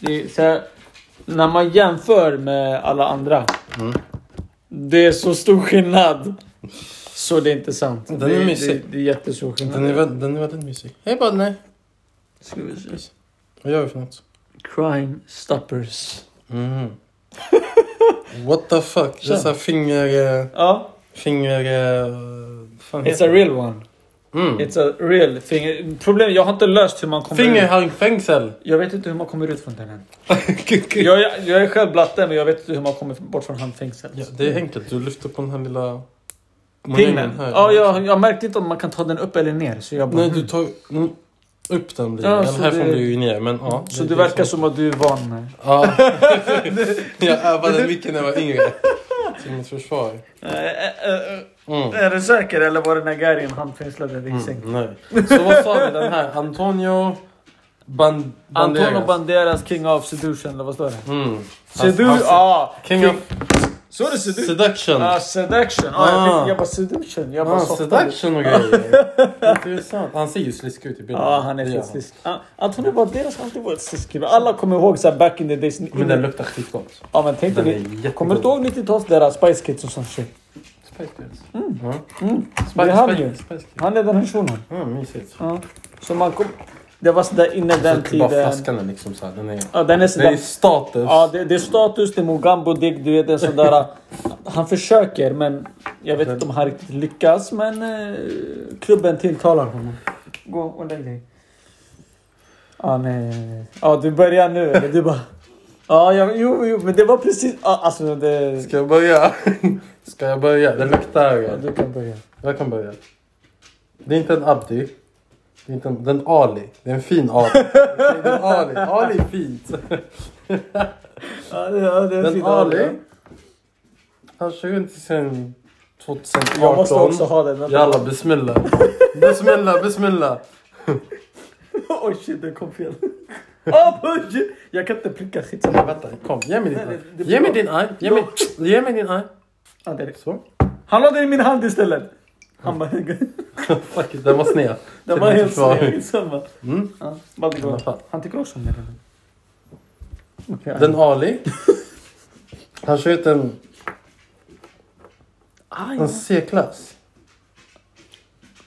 Det är så här, när man jämför med alla andra. Mm. Det är så stor skillnad. Så det är inte sant. Den det, är det, mysig. det är jättestor skillnad. Den är, vä- den är väldigt mysig. Hej Badne! Ska vi se. Vad gör vi för något? Crime stoppers. Mhm. What the fuck? Det är såhär finger... eh, Ja, Finger... eh, fan it's a heter real one. det? Mm. It's a real finger. Problemet, jag har inte löst hur man kommer ut. Fingerhalmfängsel! Jag vet inte hur man kommer ut från den än. Jag, jag, jag är själv blatte men jag vet inte hur man kommer bort från handfängsel. Ja, det är enkelt. Du lyfter på den här lilla... Pinnen? monängen här. Ja, jag, jag märkte inte om man kan ta den upp eller ner. Så jag bara, Nej, du tar mm, upp den blir Ja, ja, så Här får det- du ju ner. Men, ja, Så det verkar som att du är van med. Ja. jag övade mycket när jag var yngre. Till mitt försvar. Mm. Eh, Är du säker eller var det Nagarin handfängslade din säng? Mm, nej. Så vad sa vi? Den här Antonio Ban- Banderas. Antonio Banderas King of Seduction eller vad står det? Mm. Sedu... ah, Han- han- Ja! King of Så är det sedu... Seduction. alltså, Ah, seduction! Ah, jag, Ah. tänkte, jag bara seduction. Jag bara Ah, softade. seduction och grejer. Intressant. Han ser ju sliskig ut i bilden. Ja, han är Det gör han. sliskig. Ah, Antonio Banderas har alltid varit sliskig. Alla kommer ihåg så här back in the days. Men den luktar skitgott. Ja men tänk Den är dig. jättegod. Kommer du inte ihåg 90-tals deras Spice Kids och sånt shit? Spice Girls. Mm. Mm. Det är han Spice- ju. Spice Girls. Han är den här shunon. Mm, mysigt. Ja. Så man kom... Det var sådär innan den Så tiden. Bara flaskan är liksom såhär. Den är... Ja, den är Det är sådär... status. Ja, det, det är status, det är Mugambo Dick, du vet det är sådär... Han försöker men jag vet inte om han riktigt lyckas men eh, klubben tilltalar honom. Gå och lägg dig. Ja, nej. Ja, du börjar nu eller? Du bara... Ja, jag, jo, jo, men det var precis... Ja, alltså det... Ska jag börja? Ska jag börja? Det Ja, luktar... du kan börja. Jag kan börja. Det är inte en Abdi. Det är inte en... Det är en Ali. Det är en fin Ali. Det är en Ali. Ali är fint. Ja, det, ja, det är en Den fin Ali. dag. Han kör runt sen Jag måste också 2018. ha den. Vänta. Jalla besmilla. Besmilla, besmilla. Oj shit, den kom fel. Åh, oj! jag kan inte pricka skit. Nej, Vänta, kom. Ge mig din Nej, arm. det- det- Ge mig din arm. Ge mig, ge mig din arm. Ja, det är det. Så. Han la den i min hand istället. Han bara... Fuck it, den var sned. Den Till var mitt helt försvar. sned. Samma. Mm. Ja, bara det I alla går. fall. Han tycker också om den. Okej, Den aj. Ali. Han kör ut en, Aj, en C-klass.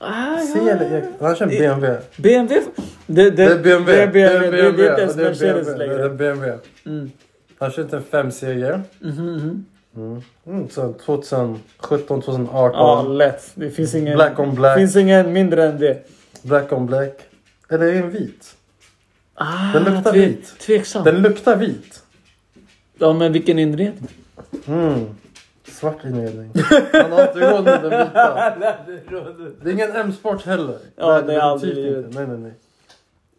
aj, C aj. eller E? Han kör en BMW. BMW. Det, det, Det är BMW. Det är BMW. Det är inte ens Det är Mercedes BMW. Det är längre. BMW. Mm. Han kör ut en 5-serie. Mhm, mhm. Mm, sen 2017, Ja, 2018. Ah, lätt. Det finns ingen... Black on black. finns ingen mindre än det. Black on black. Eller är det en vit? Ah, Den luktar tve- vit. Tveksam. Den luktar vit. Ja, men vilken inredning? Mm. Svart inredning. Han har inte råd med den vita. Det är ingen M-sport heller. Ja, Nej, det är aldrig definitivt livet. inte. Nej, nej, nej.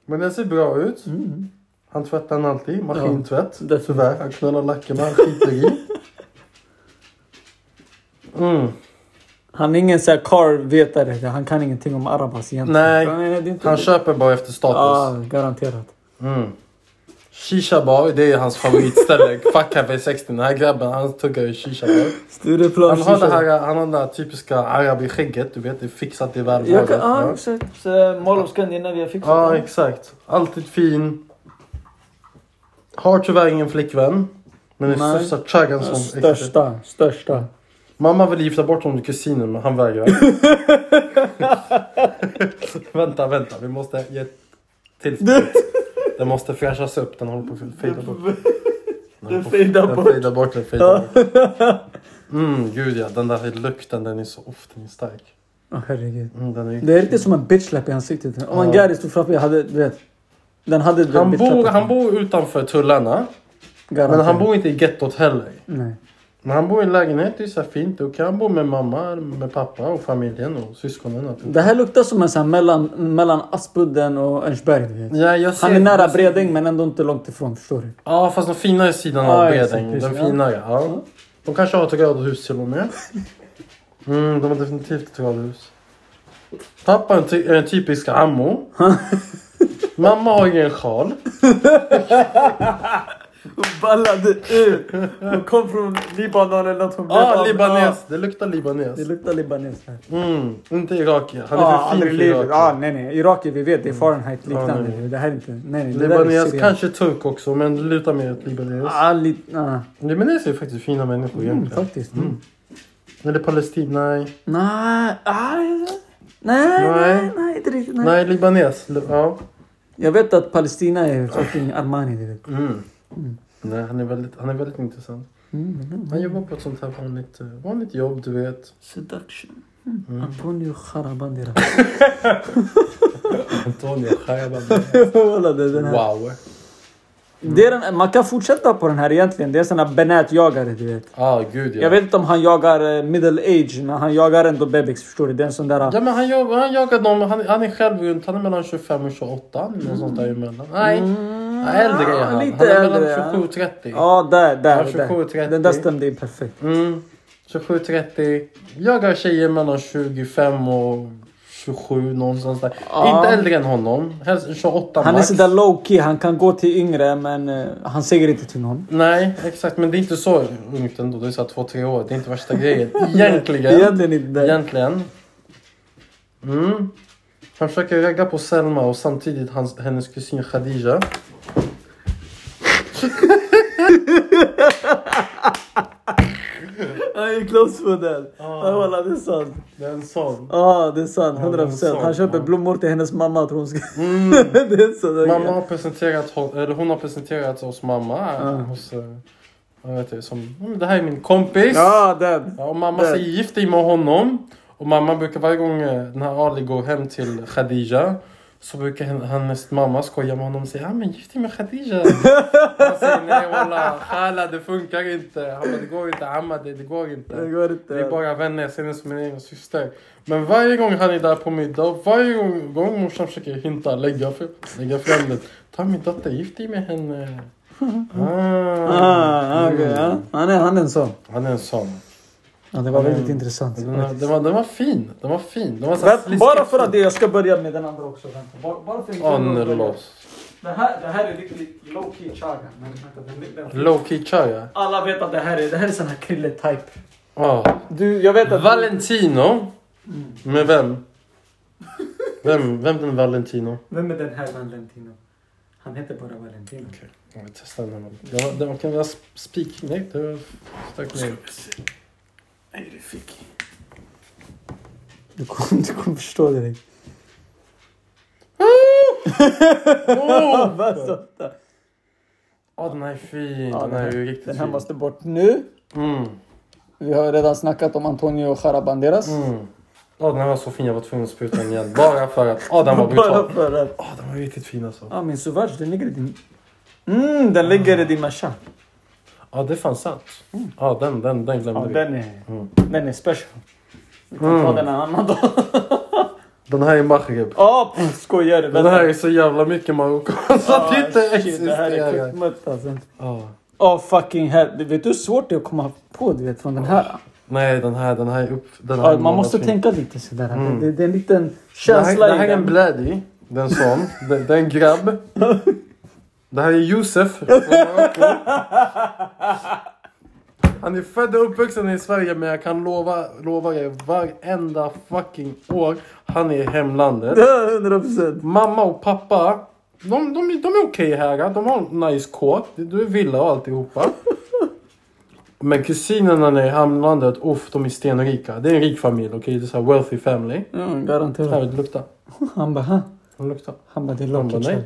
Men den ser bra ut. Mm. Han tvättar den alltid. Maskintvätt. Ja, definitivt. Tyvärr. Han knullar lackerna. Han skiter i. Mm. Han är ingen så här car-vetare. Han kan ingenting om arabas egentligen. Nej. det är inte Han köper bara efter status. Ja, garanterat. Mm. Shisha bar, det är hans favoritställe. Fuck Café 60. Den här grabben han tuggar i shisha bar. Stureplan. Han har det här, han har det här typiska arabi skägget. Du vet, det är fixat i Jag välmålet. kan, ah. ja, Ja. exakt. Så, Mall of Scandinavia fixar Ja, det. exakt. Alltid fin. Har tyvärr ingen flickvän. Men är Nej. största chaggan som existerar. Största, största. Mamma vill gifta bort honom till kusinen men han vägrar. vänta, vänta. Vi måste ge ett tillskott. Den måste fräschas upp. Den håller på att fejda bort. Den fejdar Den bort. fejdar bort. Den fejdar bort. Mm, gud ja. Den där lukten den är så... Uff, den är stark. Åh herregud. Mm, den är Det är riktigt som en bitchlap i ansiktet. Om en Ja. Gary stod framför jag hade, du vet. Den hade den han, bor, bitchlappen. han bor utanför tullarna. Men Garanterat. han bor inte i gettot heller. Nej. Men han bor i en lägenhet, det är så här fint. Då kan han bo med mamma, med pappa och familjen och syskonen. och allt. Det här luktar som en sån här mellan, mellan Aspudden och Örnsberg. du vet. Ja, jag ser, Han är nära jag ser- Bredäng men ändå inte långt ifrån. Förstår du? Ja, fast den finare sidan Ja, av exakt, Bredäng. Den precis, ja. finare, ja. De kanske har ett radhus till och med. Mm, de har definitivt ett radhus. Pappa är en ty- är den typiska ammo. Mamma har ingen sjal. Hon ballade ut. Hon kom från Libanon eller något. Hon blev Ah, av- libanes. Det luktar libanes. Ja, Det luktar libanes här. Mm, inte irakier. Han är Ja, för fin aldrig för i livet. irakier. Ja, nej, nej. Irakier, vi Mm. vet. Det är Fahrenheit Ja, liknande. nej, Det här är inte... Nej, nej. Det där är Libanes, Syrien. kanske turk också, men det lutar mer åt libanes. Ja, lite... ja. Libanes är faktiskt fina människor ah. Mm, egentligen. faktiskt. Mm. Eller Palestina, nej. Nej, aj, nej, Nej. nej, nej, inte riktigt. Nej. Nej, Libanes. Li- Ja. Jag vet att Palestina är fucking Armani. du vet. Mm. Nej, han är väldigt, han är väldigt intressant. Mm, mm. Han jobbar på ett sånt här vanligt, eh, vanligt jobb, du vet. Seduction. Mm. Antonio Charabandera. Antonio Khayabab. Walla, det är den här. Wow. Mm. Det är den, man kan fortsätta på den här egentligen. Det är såna benätjagare, du vet. Ah, gud ja. Jag vet inte om han jagar eh, middle age, men han jagar ändå bebis. Förstår du? Det är en sån där... Ja men han, jobbar, han jagar dem, han, han är själv runt, han är mellan 25 och 28, mm. något sånt där emellan. Nej, Nej, Ah, äldre är han. lite han är äldre, ja. mellan 27 och 30. Ja, där, där, Ja, 27, där. 30. Den där stämde ju perfekt. Mm. 27-30. Jagar tjejer mellan 25 och 27 någonstans där. Ja. Inte äldre än honom. Helst 28 Han är max. sådär low key, han kan gå till yngre men eh, han säger inte till någon. Nej, exakt. Men det är inte så ungt ändå. Det är så här 2-3 år. Det är inte värsta grejen. Egentligen. Egentligen inte det. Egentligen. Mm. Han försöker ragga på Selma och samtidigt hans, hennes kusin Khadija. Han är close for that. Ah. Ja walla det är sant. Det är en sån. Ja det är sant, 100 Ja, Ah, det är procent. sant, Han köper ja. blommor till hennes mamma tror hon ska... det är sant. Mamma har presenterat, hon- eller hon har presenterats hos mamma. Ja. Hos, eh, vad heter det, som, "Mm, det här är min kompis. Ja den. Ja, och mamma Där. säger gift dig med honom. Och mamma brukar varje gång eh, när Ali går hem till Khadija så brukar hen- hennes mamma skoja med honom och säga ah, men gift dig med Khadija. Han säger nej walla, khala det funkar inte. Han bara, det går inte, amma det, det går Det inte. går inte. Det är bara vänner, jag ser henne som min egen syster. Men varje gång han är där på middag, och varje gång, gång morsan försöker hinta, lägga, för, lägga fram det. Ta min dotter, gift dig med henne. Ah, Ah, okej, ja. mm. han, är, han är en sån. Han är en sån. Ja, det var Mm. väldigt intressant. Den var, den var, den var fin. Den var fin. Den var så här Vänt, sliskig. bara för att det, jag ska börja med den andra också. Vänta. Bara, bara för att Ja, nu är det loss. Det här, det här är riktigt low key chaga. Men vänta, den- den- Low key chaya. Alla vet att det här är, det här är sån här krille-type. Ja. Du, jag vet att... Valentino. Med vem? Vem, vem den Valentino? Vem är den här Valentino? Han heter bara Valentino. Okej, jag testar den. här. Den var- Den var- kan vara spik... Nej, det var stark ner. Nej, det fick Du kommer, du kommer förstå direkt. Åh! Vad så- Åh, den här är fin. Ja, Den här är ju riktigt Den här fin. måste bort nu. Mm. Vi har redan snackat om Antonio Jarabanderas. Mm. Åh, den här var så fin. Jag var tvungen att spruta den igen. Bara för att... Åh, den var Bara brutal. för att... Åh, den var riktigt fin alltså. Ja, min Sauvage, den ligger i din... Mm, den ligger i din Masha. Ja, det är fan sant. Ja, den, den, den glömde Mm. Ja, Mm. vi. den är... Mm. Den är special. Vi kan ta den en annan dag. Den här är Maghreb. Ja, pff, skojar du? Den här är så jävla mycket Marocko så att det inte Ah, shit, det här är existerar. Ah. skitmutt alltså. Ja. Åh fucking hell. Du Vet du hur svårt det är att komma på du vet, från den här? Nej, den här, den här är upp... Den här Ja, Ah, man måste målas in. tänka lite sådär. Mm. Det, det är en liten Den här, känsla den här är i en bladdy. Det är en sån. Det, det är en grabb. Det här är Josef från Marocko. Han är född och uppvuxen i Sverige men jag kan lova, lova er varenda fucking år han är i hemlandet. den. 100 procent. Mamma och pappa, de, de, de är okej här. De har en nice kåk. Du är villa och alltihopa. Men kusinerna nere i hamnlandet, uff, de är stenrika. Det är en rik familj, okej? Det är så här wealthy family. Mm, Här, garanterat. lukta. Han bara, "Ha?" Lukta. han bara, det är Han bara, locket.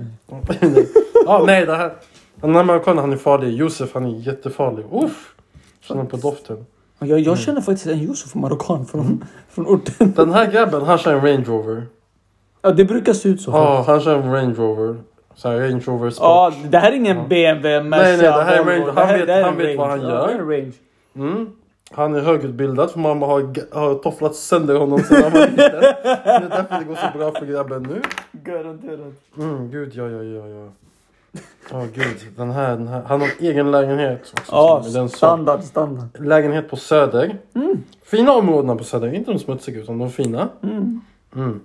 nej. Ja, nej, det här. Den här marockanen, han är farlig. Josef, han är jättefarlig. Uff! Känner på doften. Och Jag, Mm. jag känner faktiskt en Yusuf marockan från, från orten. Den här grabben, han kör en Range Rover. Ja, det brukar se ut så. Ja, han kör en Range Rover. Så här, Range Rover Sport. Ja, det här är ingen Ja. BMW, Merca, Nej, nej, det här är Volvo. Det Range. här- Han vet- det här är han en vet vad Range. han Ja, gör. det är en Range. Mm. Han är högutbildad för mamma har, g- har tofflat sönder honom sedan han var liten. Det är därför det går så bra för grabben nu. Garanterat. Mm, gud ja, ja, ja, ja. Åh gud, den här, den här. Han har egen lägenhet också. Ja, som är den som- standard, standard. Lägenhet på Mm. Söder. Fina områdena på Söder, inte de smutsiga utan de fina. Mm. Mm.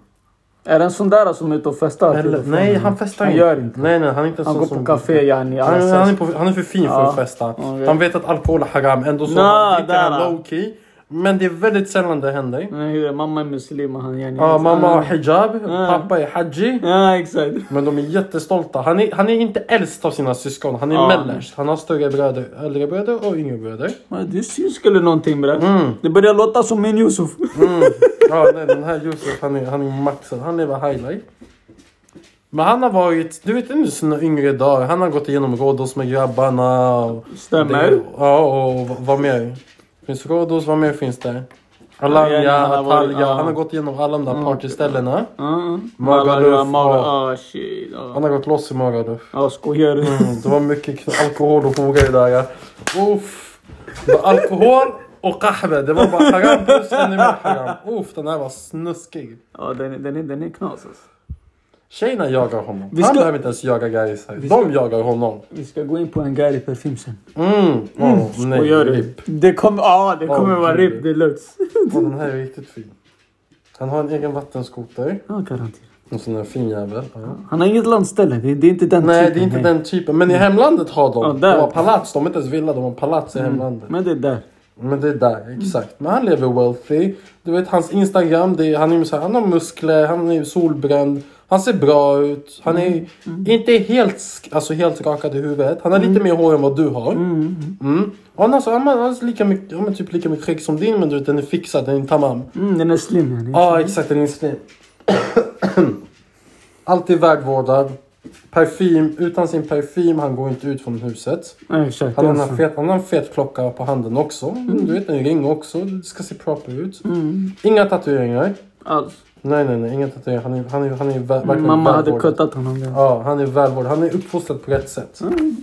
Är det en sån där som är ute och festar? Eller, nej, han festar Han inte. gör inte. Nej, nej, han är inte en Han sån går som- på café yani. alltså. Han, alla han, är ses. på, han är för fin för Ja. att festa. Okej. Han vet att alkohol är haram. Ändå så Nå, han dricker han där. low key. Men det är väldigt sällan det händer. Nej, hur är det? Mamma är muslim och han yani. Ja, mamma har hijab, Ja. pappa är haji. Ja, exakt. Mm. Men de är jättestolta. Han är, han är inte äldst av sina syskon. Han är Ja. mellerst. Han har större bröder, äldre bröder och yngre bröder. Men Du syns eller någonting bre. Mm. Det börjar låta som min Yusuf. Mm. Ja, nej, den här Josef han är, han är maxad. Han lever high life. Men han har varit, du vet under sina yngre dagar, han har gått igenom Rhodos med grabbarna. Och Stämmer. Det, ja, och v- vad mer? Finns Rhodos, vad mer finns det? Alanya, han har varit- Atalja. ja. Han har Mm. gått igenom alla de där partyställena. Ja. Magaluf, Magaluf. ja. Ah shit. Han ja. har gått loss i Magaluf. Ja, skojar du? Mm, det var mycket kn- alkohol och hoga i det där. Uff. Det var alkohol och kahve. Det var bara haram plus ännu mer haram. Uff, den här var snuskig. Ja, den, är- den, är, den är knas alltså. Tjejerna jagar honom. Vi Han ska- behöver inte ens jaga guys här. De jagar honom. Vi ska gå in på en guide i parfym sen. Mm. Åh, nej, Skojar du? RIP. Det kommer, ja, det kommer Åh, vara gud. RIP deluxe. Åh, den här är riktigt fin. Han har en egen vattenskoter. Ja, garanterat. En sån där fin jävel. Ja. Han har inget landställe. Det, det är inte den Nej, typen, det är inte den typen. Men i hemlandet har Typ Ja, de. där. Mm. De har palats. De är inte ens villa. De har palats i hemlandet. Men det är där. Men det är där, exakt. Men han lever wealthy. Du vet hans Instagram, det är, han, är ju så här, han har muskler, han är solbränd. Han ser bra ut. Han är inte helt, sk- alltså, helt rakad i huvudet. Han har lite mer hår än vad du har. Mm. Och Han, alltså, han har alltså lika mycket, han har typ lika mycket skägg som din men du vet den är fixad, den är tamam. Mm, den är slim yani. Ja exakt, den är slim. Alltid värdvårdad. Parfym, utan sin parfym han går inte ut från huset. Ja, exakt. Han har, den en fan. fet, han har en fet klocka på handen också. Mm. Du vet, en ring också. Det ska se proper ut. Mm. Inga tatueringar. Alls. Nej, nej, nej. Inga tatueringar. Han är, han är, han är vä- verkligen Mamma hade välvårdad. kuttat honom. där. Ja, han är välvårdad. Han är uppfostrad på rätt sätt. Mm.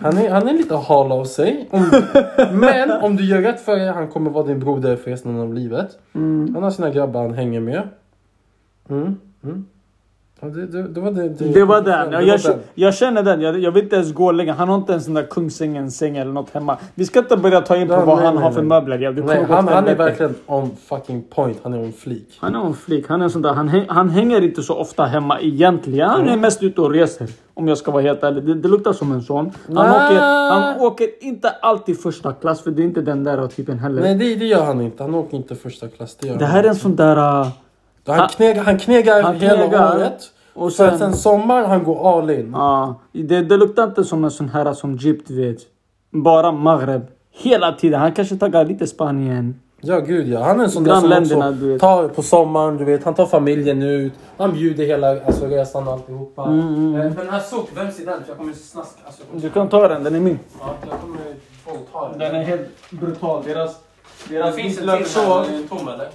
Han är, han är lite hal av sig. Om, men om du gör rätt för dig, han kommer vara din broder för resten av livet. Mm. Han har sina grabbar han hänger med. Mm. Mm. Ja, det, det, det var det. Det var den. det var Jag, jag, den. jag känner den. Jag, jag vill inte ens gå längre. Han har inte ens den där Kungsängens säng eller något hemma. Vi ska inte börja ta in på Ja, vad nej, han nej, har för nej. möbler. Ja, du kommer Nej, gå han, åt han är helvete. verkligen on fucking point. Han är on flik. Han är en flik. Han, är en sån där, han, häng, han hänger inte så ofta hemma egentligen. Han är mest ute och reser. Om jag ska vara helt ärlig. Det, det luktar som en sån. Han, Ah. åker, han åker inte alltid första klass för det är inte den där typen heller. Nej, det, det gör han inte. Han åker inte första klass. Det gör Det han. här är en sån där... uh, han, knegar, han knegar Han hela knegar, året. och Och sen, sen- sen, sommar han går all in. Ja, det, det luktar inte som en sån här som Jeep du vet. Bara Maghreb. Hela tiden. Han kanske taggar lite Spanien. Ja, gud ja. Han är en sån där som Grannländerna, du också vet. tar på sommaren, du vet. Han tar familjen ut. Han bjuder hela alltså, resan och alltihopa. Eh, Den här sop, vem är den? För Jag kommer snaska. Alltså, jag Mm, kommer- Du kan ta den, den är min. ja, jag kommer våldta Den är helt brutal. Deras, deras här. vitlökssås. Den är tom eller?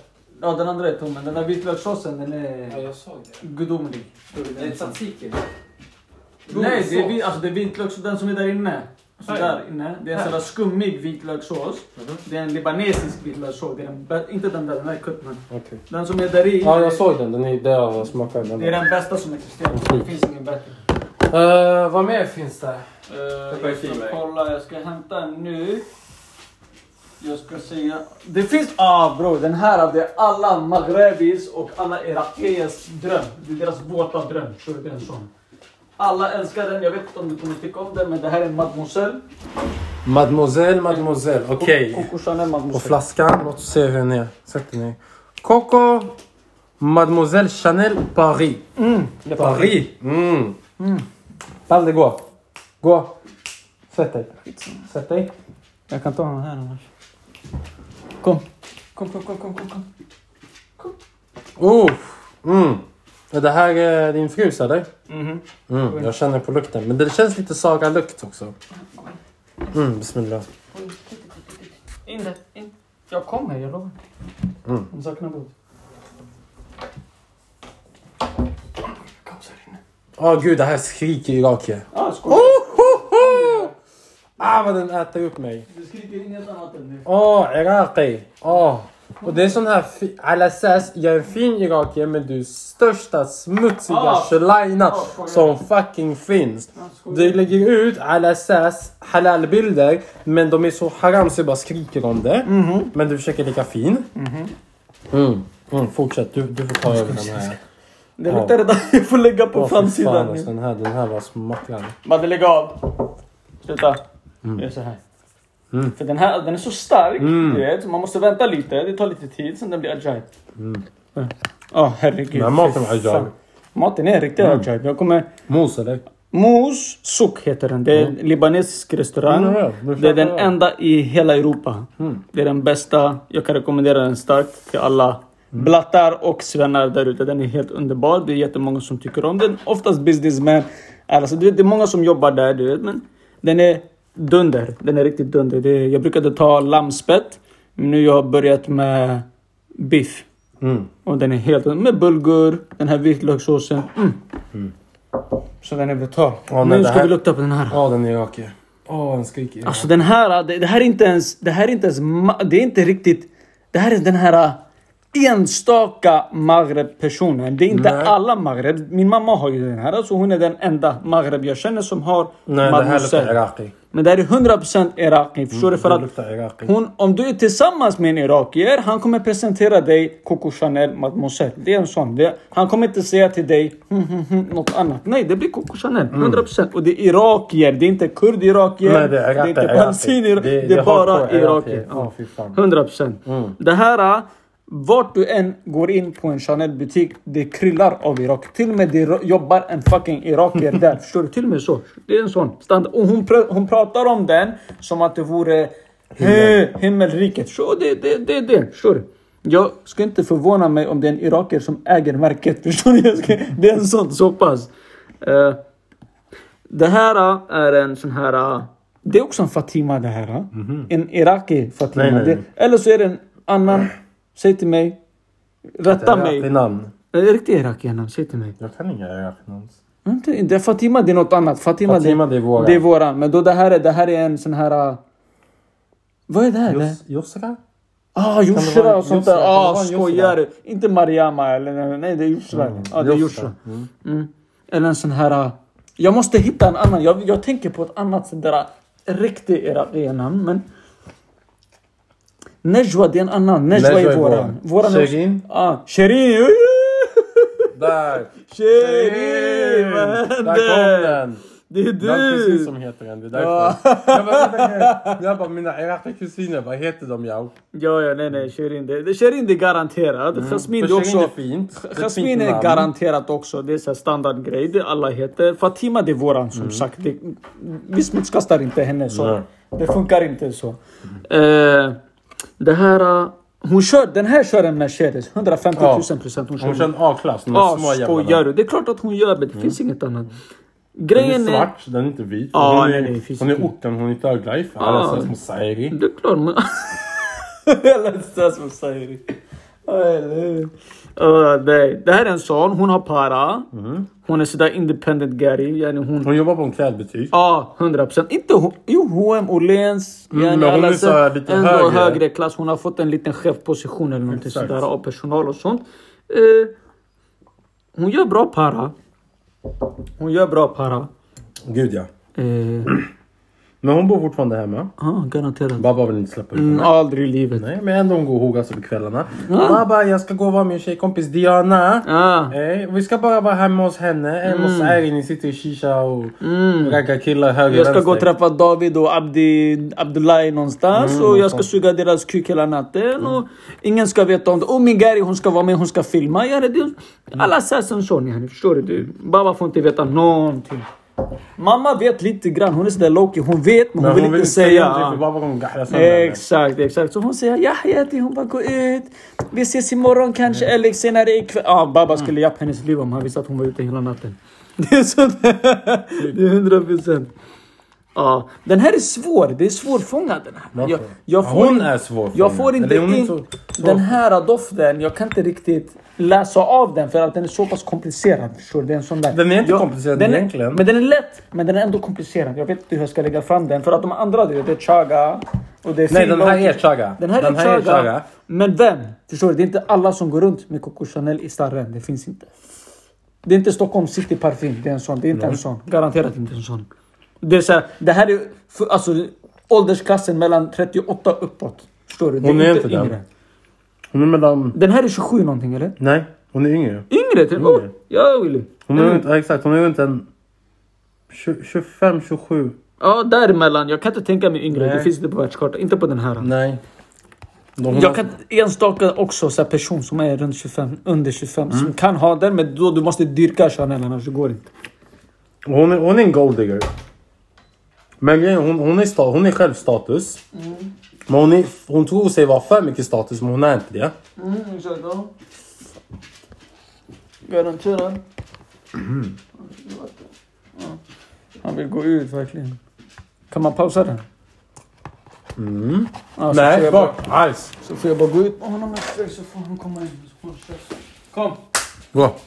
Ja, den andra är tom. men Den där vitlökssåsen den är jag såg det. gudomlig. tzatziki. Nej, det är, vi- alltså, det är vitlöks, den som är där inne. Så Här. där inne. Det är en sån där skummig vitlökssås. Det är en libanesisk vitlökssås. Det är den, bä- inte den där, den där är kuttman. Okej. Den som är där i. Ja, jag såg den. Den är där jag smakade den. Det är den bästa som existerar. Det finns ingen bättre. Eh, vad mer finns det? Eh, jag parfym, ska right? kolla, jag ska hämta en nu. Jag ska säga... Det finns... Ah bro, den här det är alla maghrebis och alla irakiers dröm. Det är deras våta dröm. Förstår du? Det är en sån. Alla älskar den, jag vet inte om du kommer tycka om den men det här är en mademoiselle. Mademoiselle, mademoiselle. Okej. Coco Chanel Och mademoiselle. flaskan, låt oss se hur den är. Sätt den i. Coco Mademoiselle Chanel Paris. Det är Paris. Mm. Mm. Palle, gå. Gå. Sätt dig. Sätt dig. Jag kan ta den här annars. Kom. Kom, kom, kom, kom, kom. kom. Uff. Mm. Är det här eh, din frus eller? Mhm. Mm, jag känner på lukten. Men det känns lite Saga-lukt också. Mm, bismillah. In där, in. Jag kommer, jag lovar. Mm. Hon saknar blod. Kaos här inne. Åh gud, det här skriker irakier. Ah, skål. Ah, vad den äter upp mig. Du skriker inget annat än det. Åh, Iraki. Åh. Och det är sån här fi- Al-Assas, jag är en fin irakier men du är största smutsiga Ah. shalina Ah, skojar. Ah, som fucking finns. skojar. Du lägger ut Al-Assas halalbilder men de är så haram så jag bara skriker om det. Mhm. Men du försöker lika fin. Mm. Mm, fortsätt, du, du får ta över den här. Det luktar redan... Jag får lägga på Åh, fy framsidan fan, alltså, nu. den, här, den här var smackad. Madde lägg av! Sluta. Gör så här. Mm. För den här den är så stark, Mm. du vet. så Man måste vänta lite. Det tar lite tid, sen den blir ajaib. Ja, herregud. Mm. Den här maten fy var Mm. ajaib. fan. Maten är riktigt ajaib. Jag kommer... Mos eller? Mos Souk heter den. Det är en libanesisk restaurang. Mm, ja, det det är den fattar Hmm. jag. enda i hela Europa. Det är den bästa. Jag kan rekommendera den starkt till alla Hmm. blattar och svennar där ute. Den är helt underbar. Det är jättemånga som tycker om den. Oftast businessmen. Alltså, du vet, det är många som jobbar där, du vet. Men den är dunder. Den är riktigt dunder. Det är, jag brukade ta lammspett. Men nu har jag börjat med biff. Mm. Och den är helt med bulgur, den här vitlökssåsen. Mm. Så den är brutal. Ja, nej, nu det ska här- vi lukta på den här. Ja, den är rakig. Åh, den skriker. Alltså den här, det, det här är inte ens, det här är inte ens, ma- det är inte riktigt. Det här är den här enstaka Maghreb-personen. Det är inte Nej. alla Maghreb. Min mamma har ju den här, så hon är den enda Maghreb jag känner som har nej, det här mademoiselle. luktar iraki. Men det här är 100% Iraki. Förstår du? För Mm, det att luktar iraki. hon, om du är tillsammans med en irakier, han kommer presentera dig Coco Chanel Mademoiselle. Det är en sån. Det, han kommer inte säga till dig "Hm, hm, hm", något annat. Nej, det blir Coco Chanel. 100%. Och det är irakier. Det är inte kurd-irakier. Nej, det det är är iraki. inte palestinier. Det, det är bara irakier. Ja. Ja, fy fan. Mm. 100%. Det här, äh, vart du än går in på en Chanel-butik, det kryllar av Irak. Till och med det ro- jobbar en fucking irakier där. Förstår du? Till och med så. Det är en sån standard. Och hon, pr- hon pratar om den som att det vore he- himmelriket. Så det är det, det, det. Förstår du? Jag ska inte förvåna mig om det är en irakier som äger märket. Förstår du? Jag ska, det är en sån. Så pass. Eh, det här eh, är en sån här... eh, Mhm. Det är också en Fatima det här. eh. En Iraki Fatima. Nej, nej, nej. Det, eller så är det en annan. Säg till mig. Rätta mig. Eh, Iraki namn. Är det riktigt Iraki namn? Säg till mig. Jag kan inga iraki namn. Inte, inte, Fatima det är något annat. Fatima, Fatima, det är våran. Det är våran. Men då det här är, det här är en sån här... eh, Vad är det här? Det- Jos- Yusra? Ah, Kan det Yushra vara och sånt Yusra? där. Kan det Ah, vara Yusra? skojar du? Inte Mariama eller... Nej, det är Yushra. ah, det är Yushra. Mm. Eller en sån här... ah, Jag måste hitta en annan. Jag, jag tänker på ett annat sånt där ah, riktigt irakier namn, men... Nejwa, det är en annan. Nejwa, Nejwa är är våran. våran. våran är- Shirin? Ah, Shirin! Där! Shirin! Vad Där kom händer? den! Det är Det är du! precis som heter den, det är därför. Jag bara, vänta, jag bara, mina iraki kusiner, vad heter de jag? Ja, ja, nej, nej. Shirin, det, det- Shirin, det är garanterat. Jasmine, det är Shirin Mm. är också... fint. Det är ett Jasmine fint är namn. garanterat också. Det är så här standardgrej. Det alla heter. Fatima det är våran som sagt. Det, vi smutskastar inte henne så. Mm. Nej. Mm. Det funkar inte så. Eh, det här... eh, hon kör, den här kör en Mercedes. 150 000 procent. Hon kör. Hon kör en A-klass, de ah, där små skojar jävlarna. du? Det är klart att hon gör det. Det finns inget annat. Den är Grejen är... svart, den är inte vit. Ja, hon nej, nej, är, finns hon är inte. orten, hon är inte öglajf. Ja. Alla ser ut som Sairi. Det är klart man... Alla stas som säger det. Ja, eller hur? Ja, nej. Det här är en sån. Hon har para. Hon är sådär independent Gary. Yani hon... Hon jobbar på en klädbutik. Ja, 100 procent. Inte H- Jo, H&M, Åhléns. Mm, yani men hon alla är så- så här lite ändå högre. klass. Hon har fått en liten chefposition eller någonting Exakt. sådär av personal och sånt. Eh, hon gör bra para. Hon gör bra para. Gud ja. Eh, Men hon bor fortfarande hemma. ja, garanterat. Babba vill inte släppa ut henne. Mm, aldrig i livet. Nej, men ändå hon går och hogar sig på kvällarna. Babba, jag ska gå och vara med min tjejkompis Diana. Ah. Eh, vi ska bara vara hemma hos henne. Hemma hos Sairi, ni sitter i shisha och raggar killar höger Mm. Jag ska vänster. gå och träffa David och Abdi, Abdullahi Mm, någonstans Mm. och jag ska suga deras kuk hela natten och ingen ska veta om det. Och min Gary hon ska vara med, hon ska filma. Ja, det, alla sägs en sån yani, förstår du? du? Baba får inte veta någonting. Mamma vet lite grann, hon är sådär lowkey. Hon vet men, Men hon vill inte säga. någonting, för Ah. Babba kommer gahla sönder henne. Exakt, exakt. Så hon säger ja, Hayati, hon bara gå ut. Vi ses imorgon kanske Mm. eller senare ikväll. Ja, ah, Baba skulle japp hennes liv om han visste att hon var ute hela natten. Det är sånt. Det är hundra procent. Ja, den här är svår. Det är svårfångad den här. Varför? Jag, jag Ja, får hon in- är svårfångad. Jag får inte Eller hon är in så- så- den här doften. Jag kan inte riktigt läsa av den för att den är så pass komplicerad. Förstår du? Det är en sån där. Den är inte jag, komplicerad den är- egentligen. Men den är lätt. Men den är ändå komplicerad. Jag vet inte hur jag ska lägga fram den. För att de andra, du vet, det är chaga. Och det är Nej, den här Finland. är chaga. Den här är chaga. Men vem? Förstår du? Det är inte alla som går runt med Coco Chanel i starren. Det finns inte. Det är inte Stockholm City parfym. Det är en sån. Det är inte en sån. Garanterat inte en sån. Det, är så här, det här är för, alltså, åldersklassen mellan 38 uppåt. Förstår du? Det Hon är inte den. yngre. Hon är mellan... Den här är 27 någonting eller? Nej. Hon är yngre. Yngre till och med? Yngre. Ja, Willy. Hon är ju inte, ja, exakt, hon är ju inte en... 25, 27. Ja, däremellan. Jag kan inte tänka mig yngre. Det Nej. finns inte på världskartan. Inte på den här. Nej. De, hon har- Jag kan enstaka också så här, person som är runt 25, under 25, som kan ha den. Men då du måste dyrka Chanel annars det går inte. Hon är, hon är en golddigger. Men grejen är, hon, hon, är sta, hon är själv status. Mm. Men hon, är, hon tror sig vara för mycket status, men hon är inte det. Mm, exakt. Ja. Garanterad. Mm. Han vill gå ut verkligen. Kan man pausa den? Ja, så får Nej, jag bara- bak. Alls. Så får jag bara gå ut med honom ett steg så får han komma in. Så får han köra. Kom! Gå.